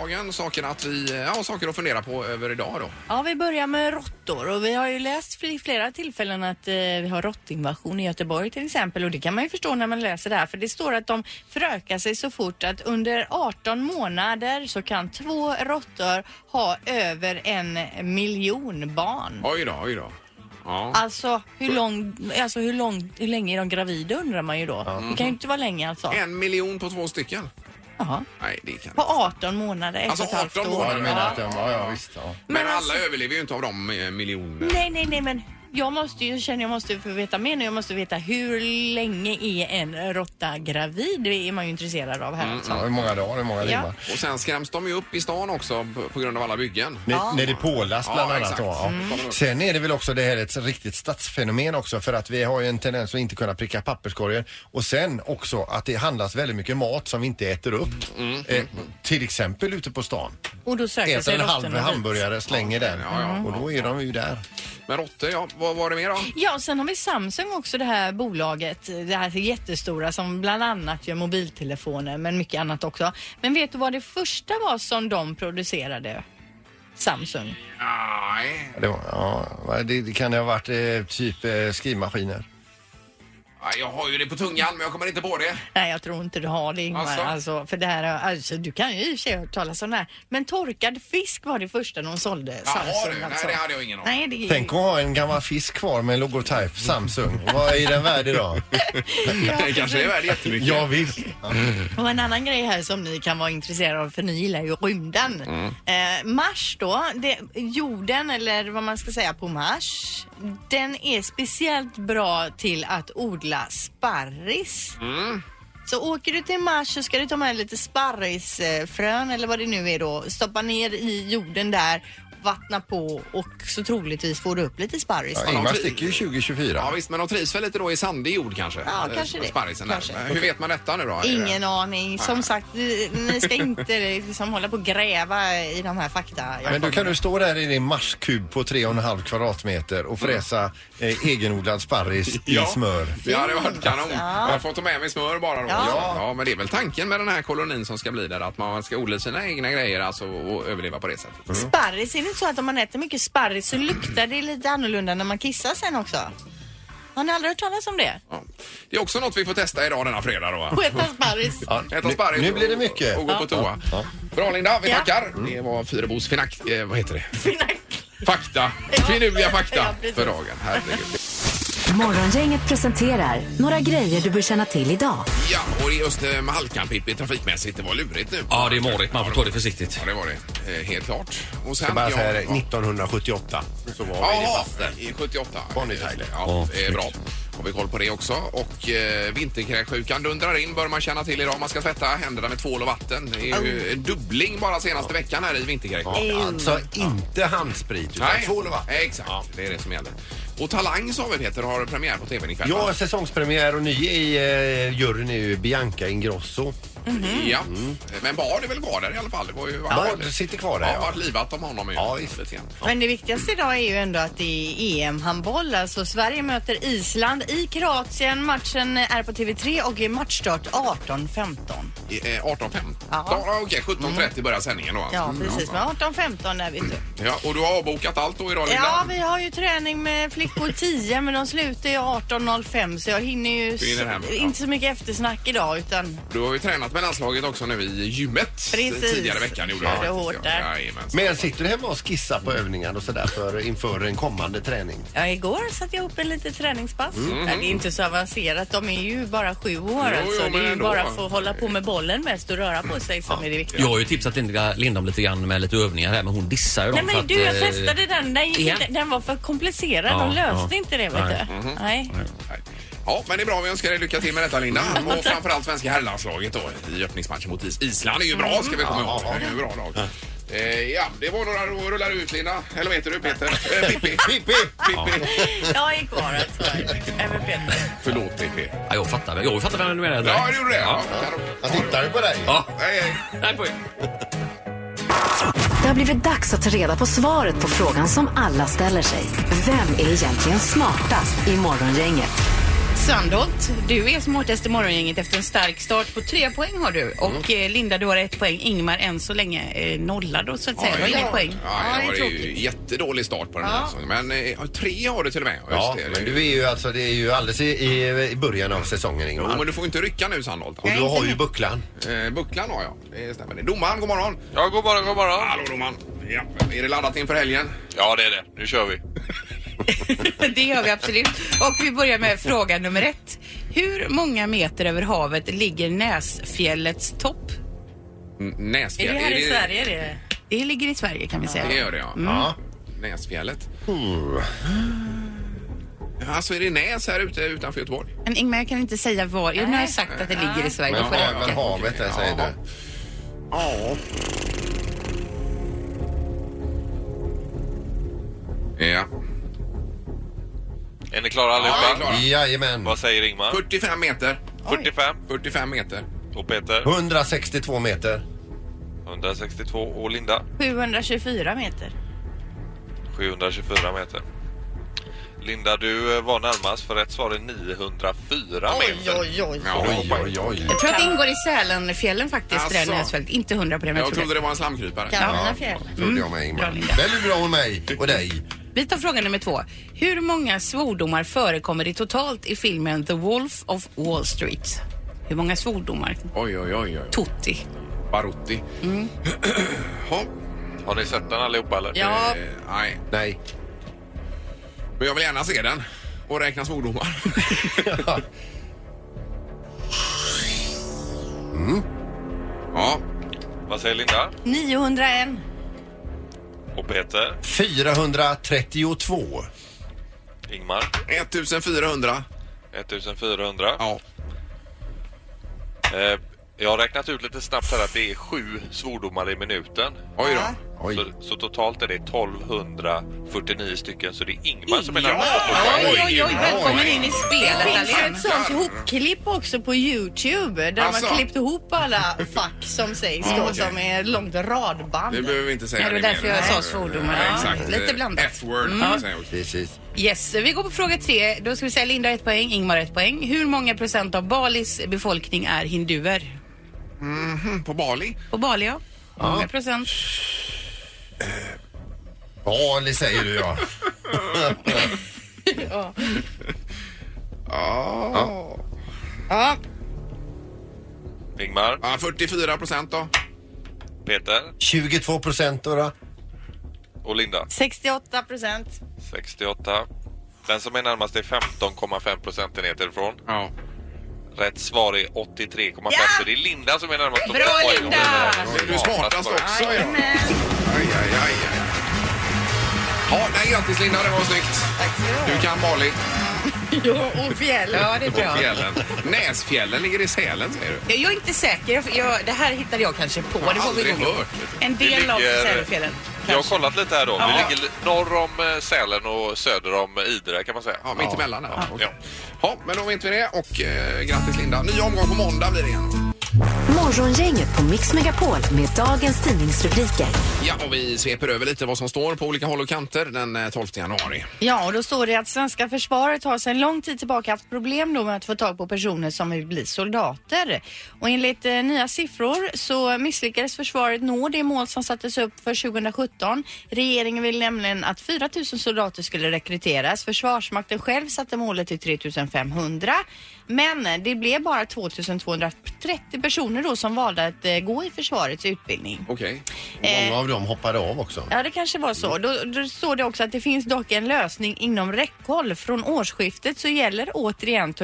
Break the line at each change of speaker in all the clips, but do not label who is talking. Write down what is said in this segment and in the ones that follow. dagen, saker, att vi, ja, saker att fundera på över idag då.
Ja, vi börjar med råttor och vi har ju läst fl- flera tillfällen att eh, vi har råttinvasion i Göteborg till exempel och det kan man ju förstå när man läser det här för det står att de förökar sig så fort att under 18 månader så kan två råttor ha över en miljon barn.
Oj då, oj då. Ja.
Alltså, hur, lång, alltså hur, lång, hur länge är de gravida undrar man ju då. Det kan ju inte vara länge alltså.
En miljon på två stycken?
Jaha.
Nej, det kan
På 18 månader, ett
Alltså,
och ett halvt
18
år.
Ja,
månader
du menar
Ja.
att de, ja, ja visst. Ja.
Men,
Men alltså-
alla överlever ju inte av de eh, miljonerna.
Nej, nej, nej, men jag måste ju känna, jag måste få veta mer nu. Jag måste veta hur länge är en råtta gravid? Det är man ju intresserad av här alltså.
Ja, hur många dagar, hur många timmar.
Och sen skräms de ju upp i stan också på- på grund av alla byggen.
När, när det pålas
Ja,
bland annat.
exakt.
Då, ja.
Mm.
Sen är det väl också det här ett riktigt stadsfenomen också för att vi har ju en tendens att inte kunna pricka papperskorgen och sen också att det handlas väldigt mycket mat som vi inte äter upp.
Mm.
Eh, till exempel ute på stan.
Och då söker
Äter
sig
en halv
råttorna dit.
hamburgare, slänger den
Ja, ja.
och då är de ju där.
Men råttor, ja, vad var det mer då?
Ja, och sen har vi Samsung också, det här bolaget, det här jättestora som bland annat gör mobiltelefoner men mycket annat också. Men vet du vad det första var som de producerade? Samsung.
Nej,
Det, var- ja, va, det, det kan ju ha varit eh, typ eh, skrivmaskiner.
Nej, jag har ju det på tungan men jag kommer inte på det.
Nej, jag tror inte du har det Ingmar.
Alltså?
Alltså? för det här, alltså, du kan ju i och för sig ha hört talas om det här. Men torkad fisk var det första de sålde.
Jaha,
Samsung,
du. Nej,
alltså.
det hade jag ingen aning
Nej, det är
Tänk att ha en gammal fisk kvar med en logotyp Samsung. Vad är den värd idag?
det kanske är värd jättemycket.
Ja, visst.
Och en annan grej här som ni kan vara intresserade av för ni gillar ju rymden.
Mm.
Eh, mars då, det, jorden eller vad man ska säga på Mars, den är speciellt bra till att odla sparris.
Mm.
Så åker du till Mars så ska du ta med lite sparrisfrön eller vad det nu är då, stoppa ner i jorden där vattna på och så troligtvis får du upp lite sparris.
Ja, Ingmar sticker ju 2024.
Ja visst, men de trivs väl lite då i sandig jord kanske?
Ja,
Eh,
kanske det.
Sparrisen där.
Kanske.
Men Hur vet man detta nu då?
Ingen aning. Som sagt, ni ni ska inte liksom hålla på och gräva i de här fakta. jag
Men du
kommer
kan
med.
du stå där i din marskub på 3,5 kvadratmeter och fräsa eh, egenodlad sparris
Ja.
i smör.
Det hade varit kanon.
Ja.
Jag får ta med mig smör bara då.
Ja.
ja, men det är väl tanken med den här kolonin som ska bli där att man ska odla sina egna grejer alltså och överleva på det sättet.
Mm.
Sparris, är det inte så att om man äter mycket sparris så luktar det lite annorlunda när man kissar sen också? Har ni aldrig hört talas om det?
Ja. Det är också något vi får testa idag denna fredag då.
Sköta sparris.
Ja,
Äta
nu-
sparris
nu blir det
och-
mycket.
Och gå på toa.
Ja. Mm.
Bra Linda, vi
Ja.
tackar. Det var Fyrebos finak... Eh, vad heter det?
Finack.
Fakta.
Ja.
Finurliga fakta
Ja, precis.
för dagen. Herregud.
Morgongänget presenterar några grejer du bör känna till idag.
Ja, och det är just eh, med halkan Pippi trafikmässigt. Det var lurigt nu.
Ja, det är morigt. Man får ta det försiktigt.
Ja, det var det. Eh, helt klart. Och sen...
Jag bara
ja,
säger det,
ja.
1978 så var vi i
Jaha,
Bastern.
i 78.
Bonnie Tyler.
Ja,
Ja,
det är bra. Har vi koll på det också. Och eh, vinterkräksjukan dundrar in bör man känna till idag. Man ska tvätta händerna med tvål och vatten. Det är ju en dubbling bara senaste veckan här i vinterkräksjukan.
Alltså inte handsprit utan tvål och vatten.
Exakt, det är det som gäller. Och Talang sa vi Peter har premiär på tvn ikväll.
Ja,
va?
säsongspremiär och ny i eh, juryn är ju Bianca Ingrosso.
mm.
ja. Men Bard är väl kvar där i alla fall? Det var ju
Bard sitter kvar där,
Ja,
ja.
varit livat om honom ju.
Ja, visst.
Lite grann.
Men det viktigaste idag är ju ändå att det är EM-handboll. Alltså Sverige möter Island i Kroatien. Matchen är på TV3 och är matchstart 18.15.
I, eh, 18.15?
Ja.
Ja, okej. 17.30 börjar sändningen då. alltså.
Ja,
Mm,
precis. Men 18.15 där vet du.
Ja, och du har avbokat allt då idag Linda?
Ja, vi har ju träning med flickor 10 men de slutar ju 18.05 så jag hinner ju
Du hinner hem,
s-
ja.
inte så mycket eftersnack idag utan
Du har ju tränat med landslaget också nu i gymmet.
Precis.
Tidigare i veckan gjorde
Ja,
du
det var hårt där.
Jajamensan.
Men sitter du hemma och skissar på övningar och sådär för, inför en kommande träning?
ja, igår satte jag upp en liten träningspass. Nej, det är inte så avancerat, de är ju bara sju år
Mm. Jo, jo,
alltså. Det
men
är ju
ändå.
bara för att hålla på med bollen mest och röra på sig som är det viktiga.
Jag har ju tipsat Linda Linda om lite grann med lite övningar här, men hon dissar ju
Nej
dem. för
men
att,
du, jag
eh,
testade den. Den, gick
igen?
inte, den var för komplicerad.
Ja,
de löste
ja.
inte det vet
Nej.
du. Nej.
Mhm. Nej. Ja, men det är bra. Vi önskar dig lycka till med detta, Linda. Och framförallt svenska herrlandslaget då i öppningsmatchen mot Is- Island. är ju
Mm.
bra, ska vi komma ihåg. Det är ju en bra lag. Eh, ja, det var några då rullar ut, Linda. Eller vad heter du, Peter? Eh, Pippi. Pippi! Pippi.
Jag är kvar alltså. Även Peter.
Förlåt, Pippi.
Ja, jag fattar. Jag fattar vem du menar.
Ja, du gjorde det. Ja.
Jag tittar ju på dig.
Ja.
Hej, hej.
Nej, på-
Det har blivit dags att ta reda på svaret på frågan som alla ställer sig. Vem är egentligen smartast i Morgongänget?
Sandholt, du är smartast i morgongänget efter en stark start på tre poäng har du. Och
Mm.
eh, Linda, du har ett poäng. Ingmar än så länge eh, nollad då så att säga. Du har inget poäng.
Ja,
Ja,
det
det
var
är
ju jättedålig start på den här säsongen. Men eh, tre har du till och med. Just
Ja,
det.
men du är ju alltså, det är ju alldeles i, i, i början av säsongen
Jo,
Ingmar.
men du får inte rycka nu Sandholt.
Och du har ju bucklan.
Eh, bucklan har jag. Det stämmer. det. Domaren, god morgon.
Ja, god morgon, god morgon.
Hallå domaren. Ja, är det laddat inför helgen?
Ja, det är det. Nu kör vi.
Det gör vi absolut. Och vi börjar med fråga nummer ett. Hur många meter över havet ligger Näsfjällets topp?
N- Mm, Näsfjäll.
Är det här i
det-
Sverige det?
Det ligger i Sverige kan vi säga.
Det gör det
Mm.
ja. ja. Näsfjället. Alltså är det Näs här ute utanför Göteborg?
Men Ingmar, jag kan inte säga var. Jo, nu har jag sagt att det ligger i Sverige.
Men
Jag får
har-
räcka.
Men havet där säger
Ja.
du.
Ja. Ja.
Är ni klara
Ja, jag är
allihopa?
klar.
Jajamän.
Vad säger Ingmar?
45 meter.
45.
45 meter.
Och Peter?
162 meter.
162. Och Linda?
724 meter.
724 meter. Linda, du eh, var närmast för rätt svar är 904 meter.
oj, oj.
Ja,
Oj, oj, oj.
Jag tror att det ingår i Sälenfjällen faktiskt, det
Alltså.
där Näsfjället. Inte hundra på det, men
Jag
jag tror
trodde
det.
det var en slamkrypare.
Kan mina
Ja,
fjäll.
trodde jag med
Bra,
Ingmar.
Linda.
Väldigt bra om mig och dig.
Vi tar fråga nummer två. Hur många svordomar förekommer det totalt i filmen The Wolf of Wall Street? Hur många svordomar?
Oj, oj, oj. oj.
Totti.
Barotti.
Mm.
Jaha.
Har ni sett den allihopa eller?
Ja,
Eh, nej,
Nej.
men jag vill gärna se den och räkna svordomar. Mm. Ja,
Vad säger Linda?
901.
Och Peter?
432.
Ingmar?
1400.
1400.
Ja.
Eh, jag har räknat ut lite snabbt här att det är sju svordomar i minuten.
Oj då.
Oj.
Så, så totalt är det 1249 stycken så det är Ingmar som är
Ja!
närmast.
oj, oj, oj, välkommen in i spelet
Det finns ju
Dahlén.
ett sånt ihopklipp också på Youtube där
Alltså.
man klippt ihop alla fack som sägs
Ja,
då
okej.
som är ett långt radband.
Det behöver vi inte säga.
Ja, det var
mer.
därför jag sa svordomar.
Ja,
Ja,
exakt. Eh,
lite blandat. Mm.
F-word kan man säga också.
Precis.
Yes, vi går på fråga tre. Då ska vi säga Linda ett poäng, Ingmar ett poäng. Hur många procent av Balis befolkning är hinduer?
Mm, På Bali?
På Bali ja. Hur många procent?
Bali säger du ja.
Ja.
Ja,
Ingmar,
Ja, 44 procent då.
Peter
22 procent då, då.
och Linda.
68 procent.
68. Den som är närmast är 15,5 procentenheter ifrån.
Ja.
Rätt svar är 83,5
Ja!
så det är Linda som är närmast. på
Bra,
två poäng.
Linda!
Är du smartast också? Ja. Aj,
Jajamän.
aj, aj, aj. Ja, nej, grattis Linda, det var snyggt.
Tack ska du ha.
Du kan Bali
Jo, och fjäll.
Ja, det är
på
bra.
fjällen. Näsfjällen ligger i Sälen säger du.
Jag är inte säker. Jag, jag, det här hittade jag kanske på. Det får vi
Aldrig
gå
hört.
En
Det
del av
ligger-
Sälenfjällen.
Jag har kollat lite här då. Vi ligger norr om eh, Sälen och söder om eh, Idre kan man säga.
Ja, mitt emellan där. Ja.
Ja.
ja, men då vet vi det och eh, grattis Linda. Ny omgång på måndag blir det igen.
Morgongänget på Mix Megapol med dagens tidningsrubriker.
Ja, och vi sveper över lite vad som står på olika håll och kanter den eh, 12 januari.
Ja, och då står det att svenska försvaret har sedan lång tid tillbaka haft problem då med att få tag på personer som vill bli soldater. Och enligt eh, nya siffror så misslyckades försvaret nå det mål som sattes upp för 2017. Regeringen vill nämligen att 4 000 soldater skulle rekryteras. Försvarsmakten själv satte målet till 3 500. Men eh, det blev bara 2 230 personer då som valde att eh, gå i försvarets utbildning.
Okej.
Många av dem hoppade av också.
Ja, det kanske var så. Då, då står det också att det finns dock en lösning inom räckhåll. Från årsskiftet så gäller återigen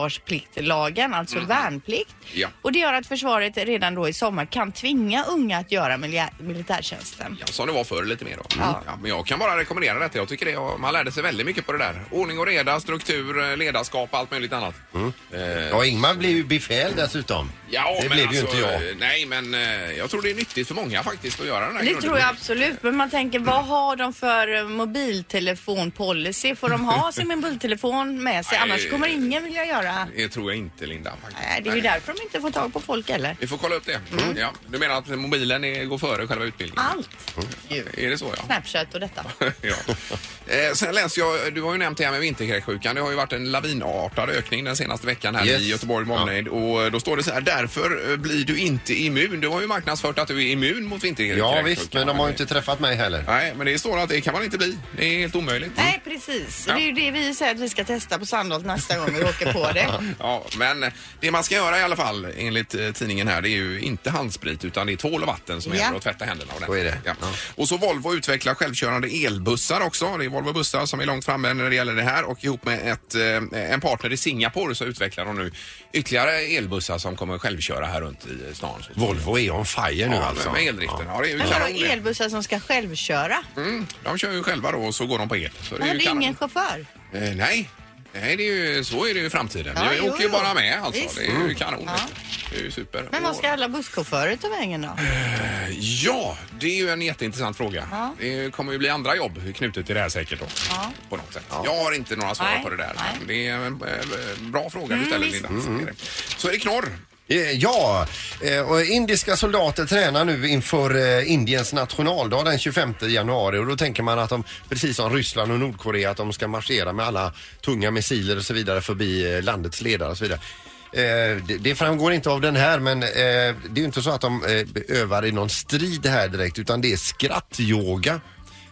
totalförsvarspliktlagen, alltså värnplikt.
Mhm. Ja.
Och det gör att försvaret redan då i sommar kan tvinga unga att göra milia- militärtjänsten.
Ja, som det var förr lite mer då. Mm.
Ja.
Ja, men jag kan bara rekommendera detta. Jag tycker det, man lärde sig väldigt mycket på det där. Ordning och reda, struktur, eh, ledarskap, allt möjligt annat. Eh,
Ja, Ingmar blev ju befäl dessutom.
Ja,
Det
men
blev ju inte jag.
eh, Nej, men eh, jag tror det är nyttigt för många faktiskt att göra den här
Det
grundutbildningen.
tror jag absolut. Men man tänker, vad har de för eh, mobiltelefonpolicy? Får de ha sin mobiltelefon med sig?
Nej.
Annars kommer ingen vilja göra.
Det tror jag inte, Linda. Faktiskt.
Nej, det är ju därför de inte får tag på folk heller.
Vi får kolla upp det. Ja, du menar att mobilen är, går före själva utbildningen?
Allt.
Är det så, ja?
Snapchat och detta.
ja. Eh, sen läste jag, du har ju nämnt det här med vinterkräksjukan. Det har ju varit en lavinartad ökning den senaste veckan här
Yes.
i Göteborg Monnade. Och då står det så här, därför eh, blir du inte immun. Du har ju marknadsfört att du är immun mot vinterkräksjukan.
Ja visst, men de har ju inte träffat mig heller.
Nej, men det står att det kan man inte bli. Det är helt omöjligt.
Nej, precis.
Mm. Ja.
Det är ju det vi säger att vi ska testa på Sandholt nästa gång vi åker på det.
Ja, men det man ska göra i alla fall enligt eh, tidningen här det är ju inte handsprit utan det är tvål och vatten som
Ja.
gäller och tvätta händerna och
Så är det.
Ja. Och så Volvo utvecklar självkörande elbussar också. Det är Volvo bussar som är långt framme när det gäller det här och ihop med ett, eh, en partner i Singapore så utvecklar de nu ytterligare elbussar som kommer självköra här runt i stan. Så-
Volvo är on fire nu
Ja,
alltså.
Med eldriften. Ja. det är ju
Men vadå
kanon.
elbussar som ska självköra?
Mm, De kör ju själva då och så går de på el. Så
Men det är
kanon.
ingen chaufför.
Eh, nej. Nej, det är ju, så är det ju i framtiden.
Ja,
Vi
jo,
åker ju
jo.
bara med alltså.
Visst. Mm.
Det är ju kanon.
Ja.
Det är ju super.
Men
Och- eh,
vad ska alla busschaufförer ta vägen då?
Ja, det är ju en jätteintressant fråga.
Ja.
Det kommer ju bli andra jobb knutet till det här säkert då.
Ja.
På något sätt. Jag har inte några svar
Nej,
på det där.
nej. Mm,
Men det är en eh, bra fråga du ställer Linda. Så är det. Så är det knorr.
Eh, Ja, eh, och indiska soldater tränar nu inför eh, Indiens nationaldag den 25 januari och då tänker man att de, precis som Ryssland och Nordkorea, att de ska marschera med alla tunga missiler och så vidare förbi eh, landets ledare och så vidare. Eh, det- Det framgår inte av den här men eh, det är ju inte så att de eh, övar i någon strid här direkt utan det är skrattyoga.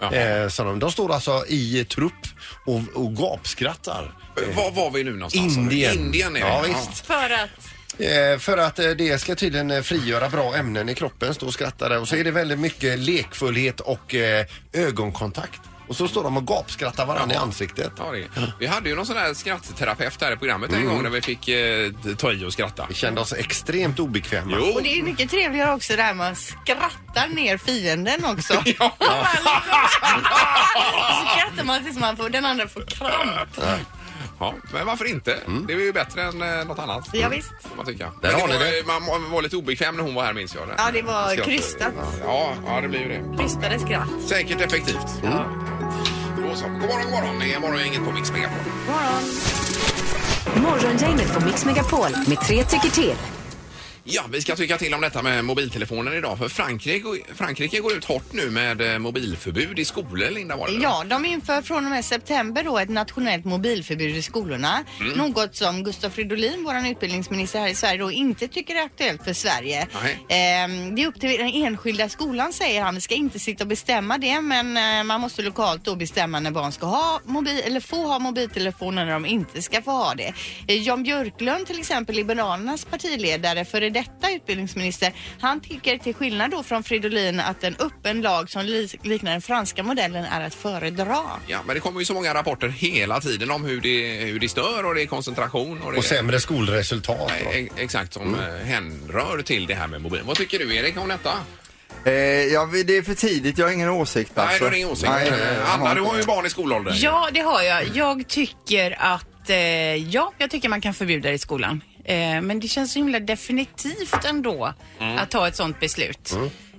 Jaha.
Eh, Så de, de står alltså i trupp och, och gapskrattar.
Eh, Var var vi nu någonstans? Alltså, Indien är det.
Ja, visst.
För att?
Eh, För att eh, det ska tydligen eh, frigöra bra ämnen i kroppen, stå och skratta där. Och så är det väldigt mycket lekfullhet och eh, ögonkontakt. Och så står de och gapskrattar varandra i ansiktet.
Ja, det är. Vi hade ju någon sån där skrattterapeut här i programmet en gång när vi fick eh, ta i och skratta.
Vi kände oss extremt obekväma.
Jo.
Och det är mycket trevligare också det här med att skratta ner fienden också.
Ja.
Man liksom- Så skrattar man tills man får, den andra får kramp.
Ja, men varför inte? Det är ju bättre än eh, något annat.
Mm. Ja, visst.
kan Man, tycka.
Där
Men
har ni
var-
det.
man, man var lite obekväm när hon var här minns jag.
Ja, det var
Skratt-
krystat.
Ja, ja, det blir ju det.
Krystade skratt.
Säkert effektivt.
Mm.
Då så. God morgon, god morgon. Det är morgongänget på Mix Megapol.
Morgongänget på Mix Megapol med tre tycker till.
Ja, vi ska tycka till om detta med mobiltelefoner idag. För Frankrike, Frankrike går ut hårt nu med eh, mobilförbud i skolor, Linda var det väl?
Ja, de inför från och med september då ett nationellt mobilförbud i skolorna. Något som Gustav Fridolin, vår utbildningsminister här i Sverige, då inte tycker är aktuellt för Sverige.
Nej.
Ehm, det är upp till den enskilda skolan säger han. Vi ska inte sitta och bestämma det men eh, man måste lokalt då bestämma när barn ska ha mobil, eller få ha mobiltelefoner när de inte ska få ha det. Eh, Jan Björklund till exempel, Liberalernas partiledare, före detta utbildningsminister, han tycker till skillnad då från Fridolin att en öppen lag som li- liknar den franska modellen är att föredra.
Ja, men det kommer ju så många rapporter hela tiden om hur det, hur det stör och det är koncentration och det
Och sämre skolresultat.
Nej, e- Exakt, som mm. hänrör till det här med mobil. Vad tycker du Erik om detta?
Eh, ja, vi- det är för tidigt. Jag har ingen åsikt
Nej,
alltså.
du har ingen åsikt.
Nej, nej, jag
Anna,
har
du
inte.
har ju barn i skolåldern.
Ja, det har jag. Jag tycker att, eh, ja, jag tycker man kan förbjuda det i skolan. Eh, men det känns så himla definitivt ändå
Mm.
att ta ett sånt beslut.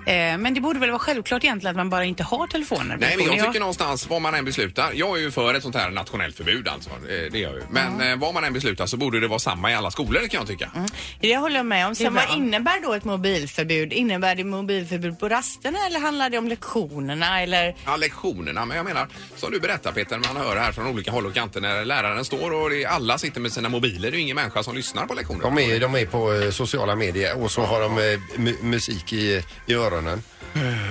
Eh, men det borde väl vara självklart egentligen att man bara inte har telefoner. på
Nej, men
skolan.
jag tycker någonstans vad man än beslutar. Jag är ju för ett sånt här nationellt förbud alltså. Eh, Det är jag ju. Men eh, vad man än beslutar så borde det vara samma i alla skolor kan jag tycka.
Det håller jag med om. Sen
bra.
vad innebär då ett mobilförbud? Innebär det mobilförbud på rasterna eller handlar det om lektionerna eller?
Ja, lektionerna, men jag menar som du berättar Peter, man hör här från olika håll och kanter när läraren står och det, alla sitter med sina mobiler. Det är ju ingen människa som lyssnar på lektionerna.
De är, de är på eh, sociala medier och så har de eh, mu- musik i, i öronen. Ja,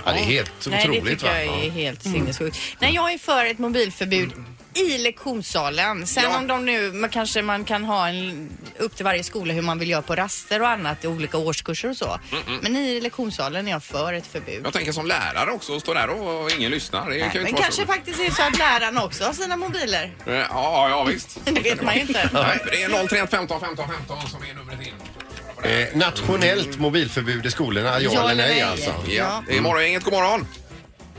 det är helt
Nej,
otroligt.
det tycker
va?
jag är helt
Mm.
sinnessjukt. Nej, jag är för ett mobilförbud i lektionssalen. Sen
Ja.
om de nu, man kanske man kan ha en, upp till varje skola hur man vill göra på raster och annat i olika årskurser och så. Men i lektionssalen är jag för ett förbud.
Jag tänker som lärare också, att stå där och, och ingen lyssnar. Det
Nej,
kan ju
men
inte vara
kanske
så.
faktiskt är så att lärarna också har sina mobiler.
Eh, Ja, ja visst.
Det vet man ju inte.
Nej, det är 031 15 15 15 som är numret in.
Eh, nationellt mobilförbud i skolorna, ja, eller nej, alltså.
Ja, det är morgongänget. God morgon!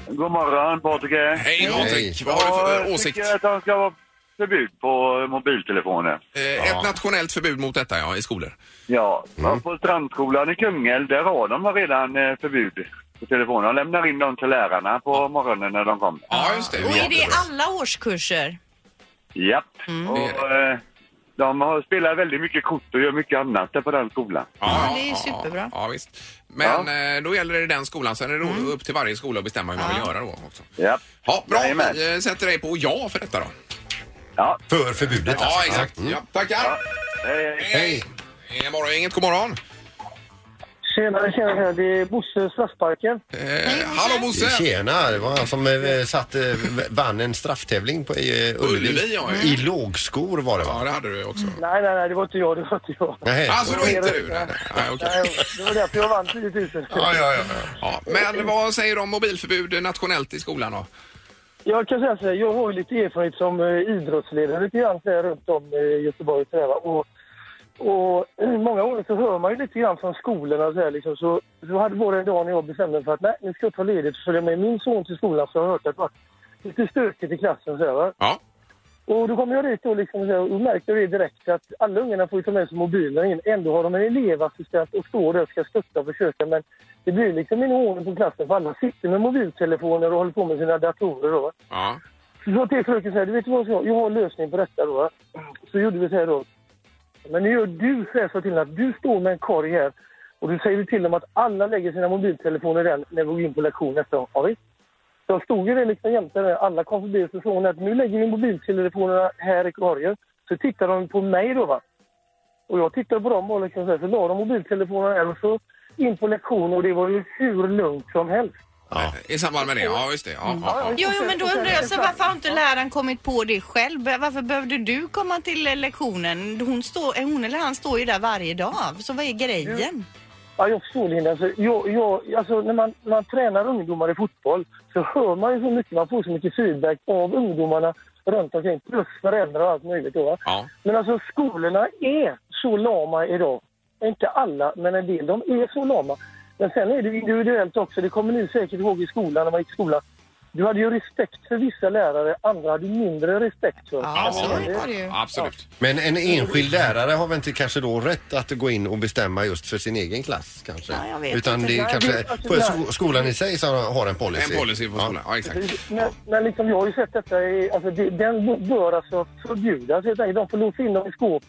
God morgon, Patrik.
Hej Patrik! Vad har du
Ja,
för
jag
eh, åsikt?
tycker att han ska vara förbud på mobiltelefoner.
Eh, Ett nationellt förbud mot detta ja, i skolor.
Ja,
Mm.
men på Strandskolan i Kungälv, där har de redan eh, förbud på telefonen. De lämnar in dem till lärarna på morgonen när de kommer.
Ja, just det.
Och är det alla årskurser?
Japp. Och, eh, de har spelar väldigt mycket kort och gör mycket annat där på den skolan.
Ja, det är superbra. Mm.
Ja, visst. Men eh, då gäller det den skolan, sen är det då upp till varje skola att bestämma hur man vill göra då också.
Japp.
Ja, bra,
Jajamän.
vi eh, sätter dig på ja för detta då.
Ja.
För förbudet alltså. Mm.
Ja, exakt. Ja, tackar.
Hej, hej.
Hej. Eh, Morgongänget, god morgon.
Tjenare, tjenare. Det är Bosse Straffsparken.
Eh, hallå Bosse!
Tjena, det var han som eh, satt, eh, vann en strafftävling på eh,
Ullevi,
Ullevi.
ja, ja.
I lågskor var det
Ja,
va?
det hade du också.
Nej, nej, nej. Det var inte jag. Det var inte jag.
Nej.
Alltså, det var inte du? Nej, nej, okej.
Det var därför jag vann 10 000.
Ja, ja, ja.
Ja, men vad säger du om mobilförbud nationellt i skolan då?
Jag kan säga så här, jag har ju lite erfarenhet som eh, idrottsledare lite grann så här, runt om i Göteborg och sådär, va. och, och eh, många gånger så hör man ju lite grann från skolorna och så, här, liksom, så, så hade var det en dag när jag bestämde mig för att nej, nu ska jag ta ledigt och följa med min son till skolan för jag har hört att det var lite stökigt i klassen och så här, va.
Ja.
Och då kom jag dit och, liksom, så här, och märkte det direkt att alla ungarna får ju ta med sig mobilen in. Ändå har de en elevassistent och står där och ska stötta och försöka men det blir liksom ingen ordning på klassen för alla sitter med mobiltelefoner och håller på med sina datorer då. va.
Ja.
Så sa till fröken så här, du vet vad jag, jag har en lösning på detta då. va? Så gjorde vi så här då. Men nu gör du så här, sa till henne att du står med en korg här och du säger till dem att alla lägger sina mobiltelefoner i den när vi går in på lektion nästa gång. Ja, visst. Så jag stod ju där liksom jämte där. Alla kom förbi och så sa hon att nu lägger vi mobiltelefonerna här i korgen. Så tittar de på mig då va. Och jag tittade på dem och liksom så, här, så la de mobiltelefonerna här och så in på lektion och det var ju hur lugnt som helst.
I samband med det, ja just det.
Mm.
Ja, ja, ja.
Jo, jo, men då undrar jag så varför har inte läraren kommit på det själv? Varför behövde du komma till eh, lektionen? Hon, står, eh, hon eller han står ju där varje dag, så vad är grejen?
Ja, jag förstår Linda. Alltså, jag, jag, alltså, när man, man tränar ungdomar i fotboll så hör man ju så mycket, man får så mycket feedback av ungdomarna runt omkring, plus föräldrar och allt möjligt. Då, va?
Ja.
Men alltså skolorna är så lama idag. Inte alla, men en del. De är så lama. Men sen är det individuellt också. Det kommer ni säkert ihåg i skolan, när man gick i skolan. Du hade ju respekt för vissa lärare, andra hade mindre respekt för.
Ja, så
Men det-
var det ju.
Absolut.
Men en enskild lärare har väl inte kanske då rätt att gå in och bestämma just för sin egen klass kanske?
Ja, jag vet
Utan
inte.
det är
Nej,
kanske
det-
på sko- skolan i sig som har en policy.
En policy på skolan, ja exakt.
Precis. Men, men liksom, jag har ju sett detta. I, alltså, det, den bör alltså förbjudas. helt enkelt. De får låsa in dem i skåp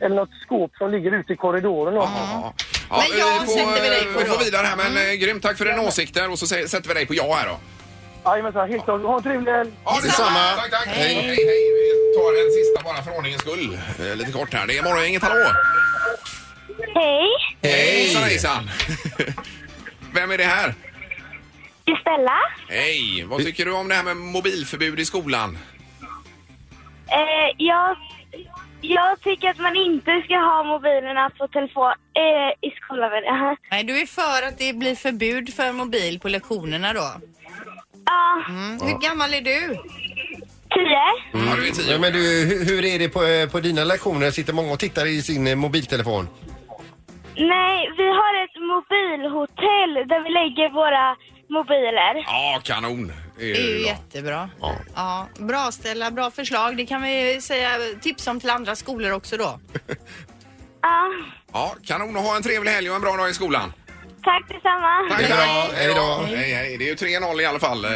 eller något skåp som ligger ute i korridoren.
Ah.
Ja. Ja,
Men jag
vi får, eh,
sätter vi dig på
Vi
ja.
får vidare här, men mm. grymt. Tack för dina åsikter och så sä- sätter vi dig på ja här då.
Jajamensan, helt klart. Ha en trevlig helg!
Ja, detsamma. Tack, tack. Hej. Hej, hej. Vi tar en sista bara för ordningens skull. Eh, Lite kort här. Det är morgongänget, hallå!
Hej!
Hej! Hejsan, hejsan. Vem är det här?
Estella?
Hej! Vad tycker du om det här med mobilförbud i skolan?
Eh, jag, jag tycker att man inte ska ha mobilerna på telefon eh, i skolan. Ja,
Nej, du är för att det blir förbud för mobil på lektionerna då? Mm. Hur gammal är du?
tio?
Ja, du är tio.
Ja, men du, hur, hur är det på, eh, på dina lektioner? Sitter många och tittar i sin eh, mobiltelefon?
Nej, vi har ett mobilhotell där vi lägger våra mobiler.
Ja, kanon. Det
Det är
ju
ju
bra.
jättebra. Ja. Bra Stella, bra förslag. Det kan vi säga tips om till andra skolor också då.
Ja,
Ja, kanon och ha en trevlig helg och en bra dag i skolan.
tack detsamma.
Tack
Hej.
Hej då.
Hej.
Hej, hej. Det är ju 3-0 i alla fall. eh,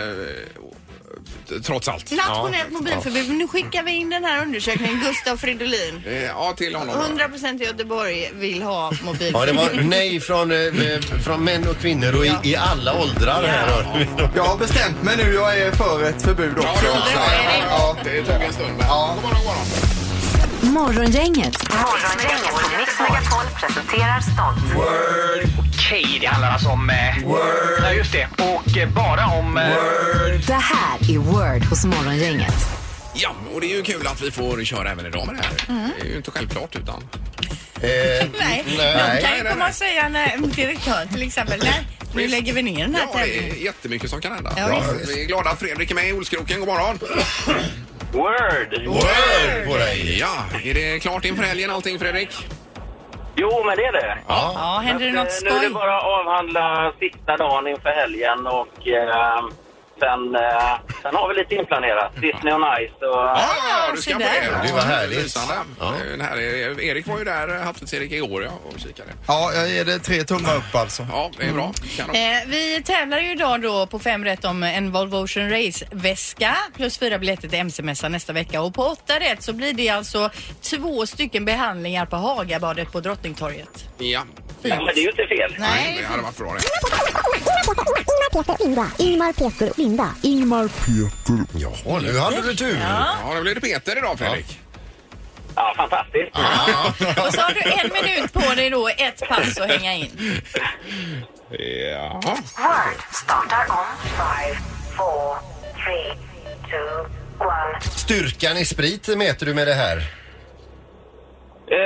t- Trots allt.
Nationellt mobilförbud. Nu skickar vi in den här undersökningen. Gustav Fridolin.
Eh, Ja, till honom. då.
100% i Göteborg vill ha mobilförbud.
Ja, det var nej från, eh, från män och kvinnor och i, i alla åldrar här. hör vi.
Jag har bestämt mig nu. Jag är för ett förbud
Ja,
också.
det var
Så-
det.
ja.
Det tog en stund, men
Ja.
god morgon, god morgon.
Morgongänget
Morgongänget på Mix Megapol presenterar stolt.
Okej, det handlar alltså om... Eh, Word. Ja, just det. Och eh, bara om... Eh,
Det här är Word hos Morgongänget.
Ja, och det är ju kul att vi får köra även idag med det här.
Mm.
Det är ju inte självklart utan...
Eh,
Nej,
nej.
de kan ju komma och säga när en direktör till exempel, nej, nu lägger vi ner den här
Ja, det är
tävlingen.
jättemycket som kan hända.
Ja, visst.
vi är glada att Fredrik är med i Olskroken. God morgon!
Word!
Word på dig!
Ja, är det klart inför helgen allting Fredrik?
Jo, men det är det.
Ja.
Ja, händer det något
Nu är
skoj?
det bara att avhandla sista dagen inför helgen och eh,
ehm, sen, eh, sen har vi lite inplanerat. Disney on Ice och...
Ja, du ska på det.
Det var härligt.
Lysande. Den här, är- Erik var ju där, eh, Halvtids-Erik, igår ja, och kikade.
Ja, jag ger det tre tummar upp alltså.
Ja, det är bra.
Eh, vi tävlar ju idag då på fem rätt om en Volvo Ocean Race-väska plus fyra biljetter till MC-mässan nästa vecka. Och på åtta rätt så blir det alltså två stycken behandlingar på Hagabadet på Drottningtorget.
Ja.
Ja, men det är ju inte fel. Nej.
Det hade varit bra det.
Ingmar, Peter och Linda. Ingmar, Peter.
Jaha, nu hade du tur.
Ja.
Ja, då blev det Peter idag Fredrik.
Ja, fantastiskt.
Och så har du en minut på dig då, ett pass att hänga in.
Ja.
World startar om 5, 4, 3, 2, 1.
Styrkan i sprit mäter du med det här.
Eh,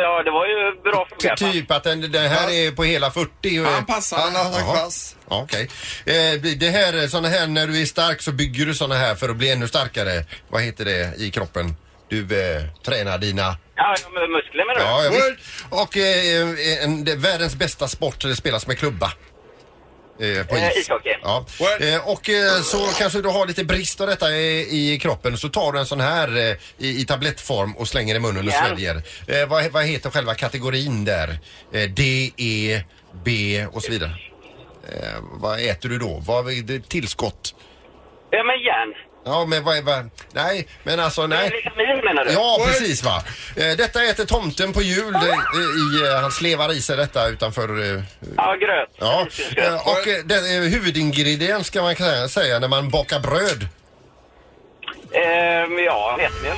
ja, det var ju bra fungerat. va?
Typ att den, den här är på hela eh, 40.
Han passar. Han har sagt pass.
Okej. Eh, blir det här, är såna här, när du är stark så bygger du såna här för att bli ännu starkare. Vad heter det i kroppen? Du eh, tränar dina...
Ja, med muskler menar
Ja,
du?
ja, visst. Och eh, en, det- världens bästa sport där det spelas med klubba. Eh, på
Eh,
is.
ishockey.
Ja. Eh, och eh, så kanske du har lite brist av detta i, i kroppen. Så tar du en sån här eh, i, i tablettform och slänger i munnen och
Ja.
sväljer. Eh, vad, vad heter själva kategorin där? Eh, D, E, B och så vidare. Eh, vad äter du då? Vad är det tillskott?
Ja, men järn.
Ja, men vad är... Vad, nej, men alltså nej.
Vitamin menar du?
Ja, precis va. Eh, Detta äter tomten på jul. eh, I, eh, han slevar i sig detta utanför... eh,
Ja, gröt.
Ja. Eh, Och eh, den, eh, huvudingrediens ska man kunna säga när man bakar bröd.
Eh,
Ehm,
ja, vetemjöl.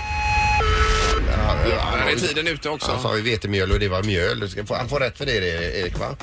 Ja, där är tiden ute också.
Han sa ju vetemjöl och det var mjöl. Du ska få- Han får rätt för det Erik va?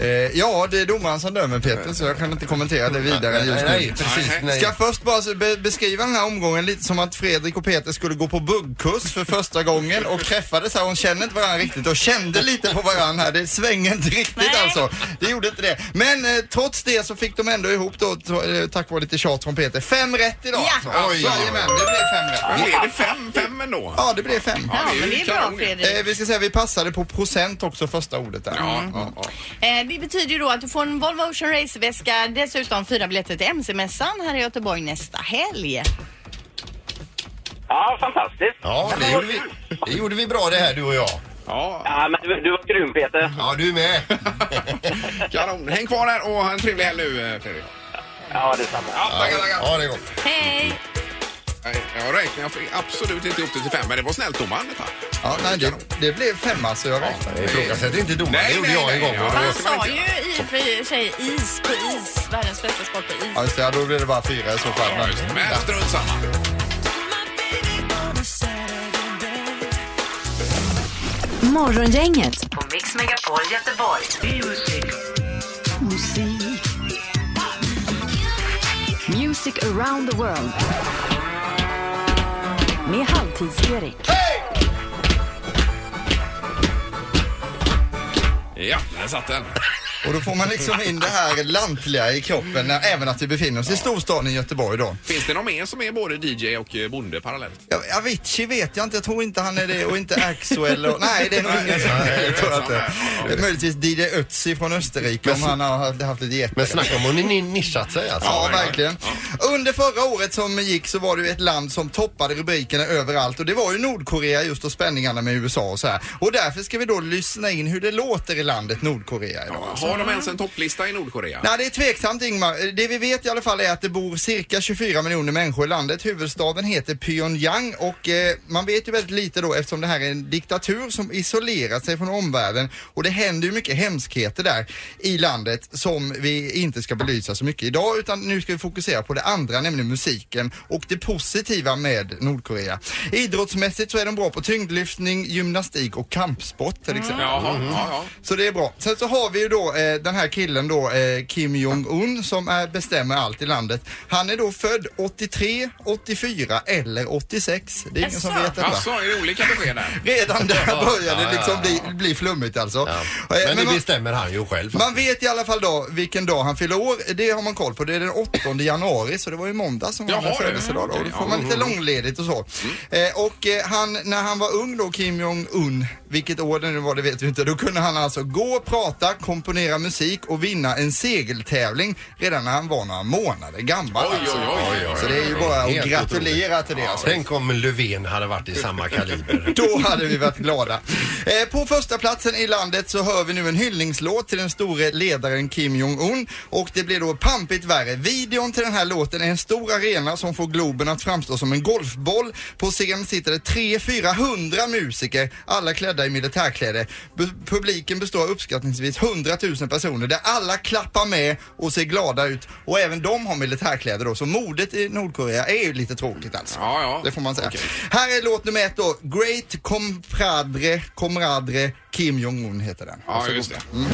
Eh, ja, det är domaren som dömer Peter så jag kan inte kommentera det vidare
Nej, nej,
just nu.
nej, precis, nej.
Ska först bara så be beskriva den här omgången lite som att Fredrik och Peter skulle gå på buggkurs för första gången och träffades här. Hon känner inte varandra riktigt och kände lite på varandra här. Det svänger inte riktigt alltså. Det gjorde inte det. Men eh, trots det så fick de ändå ihop då, t- eh, tack vare lite tjat från Peter, fem rätt idag.
Ja.
Alltså.
Oj,
Jajamän, det blev fem rätt.
Men blev det fem, fem ändå?
Ja, det blev fem.
Ja, men det är bra Fredrik.
Eh, vi ska säga att vi passade på procent också, första ordet där.
Mm.
Ja, ja.
Eh, det betyder ju då att du får en Volvo Ocean Race-väska, dessutom fyra biljetter till MC-mässan här i Göteborg nästa helg.
Ja, fantastiskt.
Ja, det gjorde vi, det gjorde vi bra det här du och jag.
Ja.
Ja, men du, du var grym Peter.
Ja, du är med.
Kanon. Häng kvar där och ha en trevlig helg nu eh, Fredrik.
Ja, detsamma.
Ja, tackar, tackar.
Ja, det är gott.
Hej!
Nej, Jag räknar jag fick absolut inte upp det till fem, men det var snällt domaren. detta.
Ja, nej, det, det blev femma så jag räknar.
Jag ifrågasätter inte domaren. Det
Nej,
gjorde
nej,
jag en
nej,
gång.
ja.
och det var-
Han sa ju i och för sig is på is, världens bästa sport på is.
Ja, just det, ja, då blev det bara fyra i så fall.
Ja, just det. Men strunt samma.
Morgongänget
På Mix Megapol Göteborg.
Music around the world. Med Halvtids-Erik.
Ja, där satt den.
Och då får man liksom in det här lantliga i kroppen, när, även att vi befinner oss i storstaden Göteborg då.
Finns det någon mer som är både DJ och eh, bonde parallellt?
Ja, Avicii vet jag inte, jag tror inte han är det och inte Axo eller... Nej, det är nog ingen som är det. Tror jag inte. Det är Möjligtvis DJ Ötzi från Österrike om han har haft- haft lite
Men
jätte...
snacka om hon ni- nischat sig alltså.
Ja, verkligen. Under förra året som gick så var det ju ett land som toppade rubrikerna överallt och det var ju Nordkorea just och spänningarna med USA och så här. Och därför ska vi då lyssna in hur det låter i landet Nordkorea idag.
Har de ens en topplista i Nordkorea?
Nej, det är tveksamt Ingmar. Det vi vet i alla fall är att det bor cirka 24 miljoner människor i landet. Huvudstaden heter Pyongyang och eh, man vet ju väldigt lite då eftersom det här är en diktatur som isolerat sig från omvärlden och det händer ju mycket hemskheter där i landet som vi inte ska belysa så mycket idag utan nu ska vi fokusera på det andra, nämligen musiken och det positiva med Nordkorea. Idrottsmässigt så är de bra på tyngdlyftning, gymnastik och kampsport till exempel.
Jaha, ja, ja.
Så det är bra. Sen så har vi ju då eh, den här killen då, eh, Kim Jong-Un, som är, bestämmer allt i landet. Han är då född 83, 84 eller 86. Det är ingen som
Jaså?
vet detta.
Jaså, är det olika besked där?
Redan där börjar
ja,
det liksom
ja,
Bli, bli flummigt alltså. Eh,
Men det
man-
bestämmer han ju själv.
man vet i alla fall då vilken dag han fyller år. Det har man koll på. Det är den 8 januari så det var ju måndag som
Jaha,
han hade
du.
födelsedag då. Då får man lite långledigt och så. Eh, och eh, han, när han var ung då, Kim Jong-Un, vilket år det nu var det vet vi inte, då kunde han alltså gå, prata, komponera musik och vinna en segeltävling redan när han var några månader gammal. alltså. Så det är ju bara att gratulera till det. Alltså.
Tänk om Löfven hade varit i samma kaliber.
Då hade vi varit glada. Eh, på första platsen i landet så hör vi nu en hyllningslåt till den store ledaren Kim Jong-Un och det blir då pampigt värre. Videon till den här låten är en stor arena som får Globen att framstå som en golfboll. På scen sitter det 300-400 musiker, alla klädda i militärkläder. Bu- publiken består av uppskattningsvis 100 000 personer där alla klappar med och ser glada ut och även de har militärkläder då så modet i Nordkorea är ju lite tråkigt alltså. Det får man säga. Här är låt nummer ett då. Great Compadre, Comradre, Kim Jong-Un heter den.
Ja,
Varsågod.
just det.
Mm.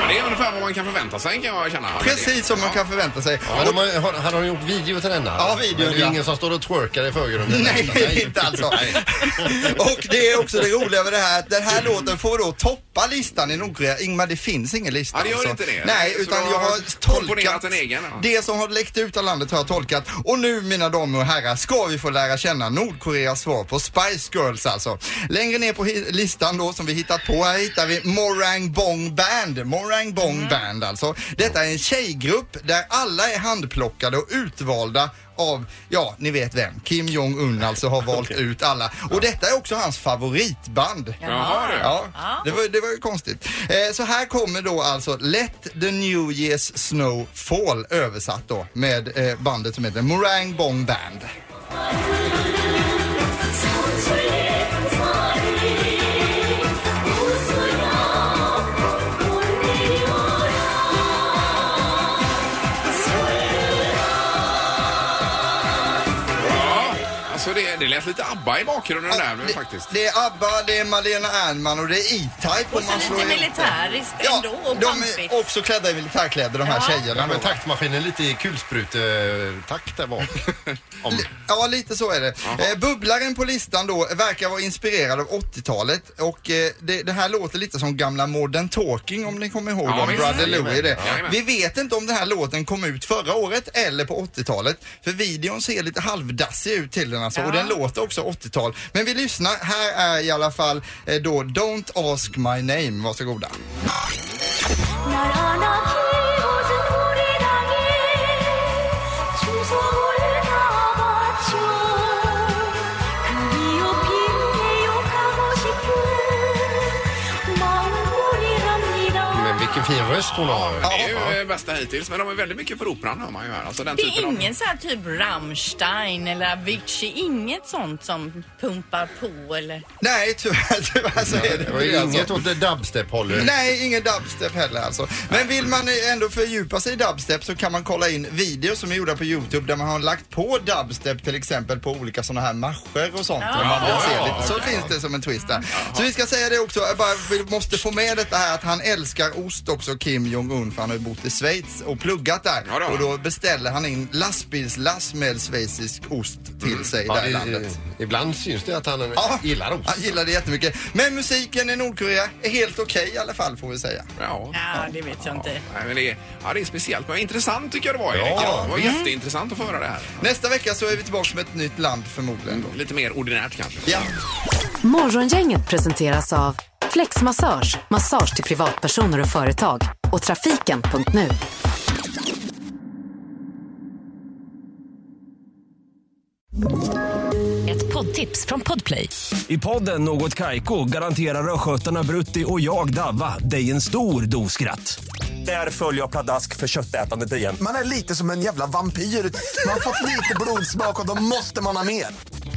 Men det är ungefär vad man kan förvänta sig kan jag känna.
Precis som man kan förvänta sig.
Men de har, har, har de gjort video till denna?
Ja, video,
Men Det är
ja.
ingen som står och twerkar i förgrunden.
Nej, inte alls. Och det är också det roliga med det här att den här låten får då toppa listan i Nordkorea. Ingmar, det finns ingen lista.
Ja, det gör
alltså.
inte det.
Nej,
Så
utan
då
jag har
har jag komponerat
tolkat
en egen, ja.
det som har läckt ut av landet har jag tolkat. Och nu, mina damer och herrar, ska vi få lära känna Nordkoreas svar på Spice Girls alltså. Längre ner på hi- listan då som vi hittat på, här hittar vi Morang Bong Band. Morang Bong
Mm.
Band alltså. Detta är en tjejgrupp där alla är handplockade och utvalda av, ja, ni vet vem. Kim Jong-Un alltså har valt ut alla. Och detta är också hans favoritband.
Jaha, du.
Ja, det var, det var ju konstigt. Eh, så här kommer då alltså Let the New Year's Snow Fall översatt då med eh, bandet som heter Morang Bong Band.
Ja, alltså det, det lät lite ABBA i bakgrunden där nu faktiskt.
Det är ABBA, det är Malena Ernman och det är E-Type.
Och sen
slår
lite
ihop det.
militäriskt
Ja,
ändå och
de
pampigt.
är också klädda i militärkläder de här
Ja.
tjejerna.
Ja, men
då.
taktmaskinen lite i kulsprutetakt där bak. Om.
Ja, lite så är det. Eh, bubblaren på listan då verkar vara inspirerad av 80-talet och eh, det, det här låter lite som gamla Modern Talking om ni kommer ihåg
Ja,
ja,
visst.
Brother Louie. Det.
Ja, jajamän.
Vi vet inte om den här låten kom ut förra året eller på 80-talet för videon ser lite halvdassig ut till den alltså och den låter också 80-tal. Men vi lyssnar. Här är i alla fall eh, då Don't Ask My Name. Varsågoda.
Men vilken fin röst hon har.
Det är ju eh, bästa hittills, men de är väldigt mycket för operan hör man ju här. Alltså den
Det är
typen
ingen så här typ Rammstein eller Avicii, inget sånt som pumpar på eller?
Nej, tyvärr, tyvärr så är alltså- det
Det var ju
inte
inget åt det dubstep-hållet.
Nej, ingen dubstep heller alltså. Men vill man eh, ändå fördjupa sig i dubstep så kan man kolla in videos som är gjorda på Youtube där man har lagt på dubstep till exempel på olika sådana här marscher och sånt.
Ja.
om man vill se
Ja,
lite. Så
okej.
finns det som en twist där. Så vi ska säga det också, jag bara, vi måste få med detta här att han älskar ost också, Kim Jong-Un, för han har ju bott i Schweiz och pluggat där.
Ja, då.
Och då beställer han in lastbilslass med schweizisk ost till sig
Ja,
där i
i-
landet.
Ibland syns det att han
Ja.
gillar ost.
Han gillar det jättemycket. Men musiken i Nordkorea är helt okej i alla fall får vi säga.
Ja.
Ja, det vet jag inte.
Nej, men det, är, ja, det är speciellt, men intressant tycker jag det var,
Ja,
Erik. Ja, det var
visst.
jätteintressant att få höra det här.
Nästa vecka så är vi tillbaka med ett nytt land förmodligen. Då.
Lite mer ordinärt kanske.
Ja.
Morgongänget presenteras av Flexmassage, massage till privatpersoner och företag och trafiken.nu.
Ett poddtips från Podplay. I podden Något Kaiko garanterar östgötarna Brutti och jag, Davva, dig en stor dos skratt. Där följer jag pladask för köttätandet igen.
Man är lite som en jävla vampyr. Man har fått lite blodsmak och då måste man ha mer.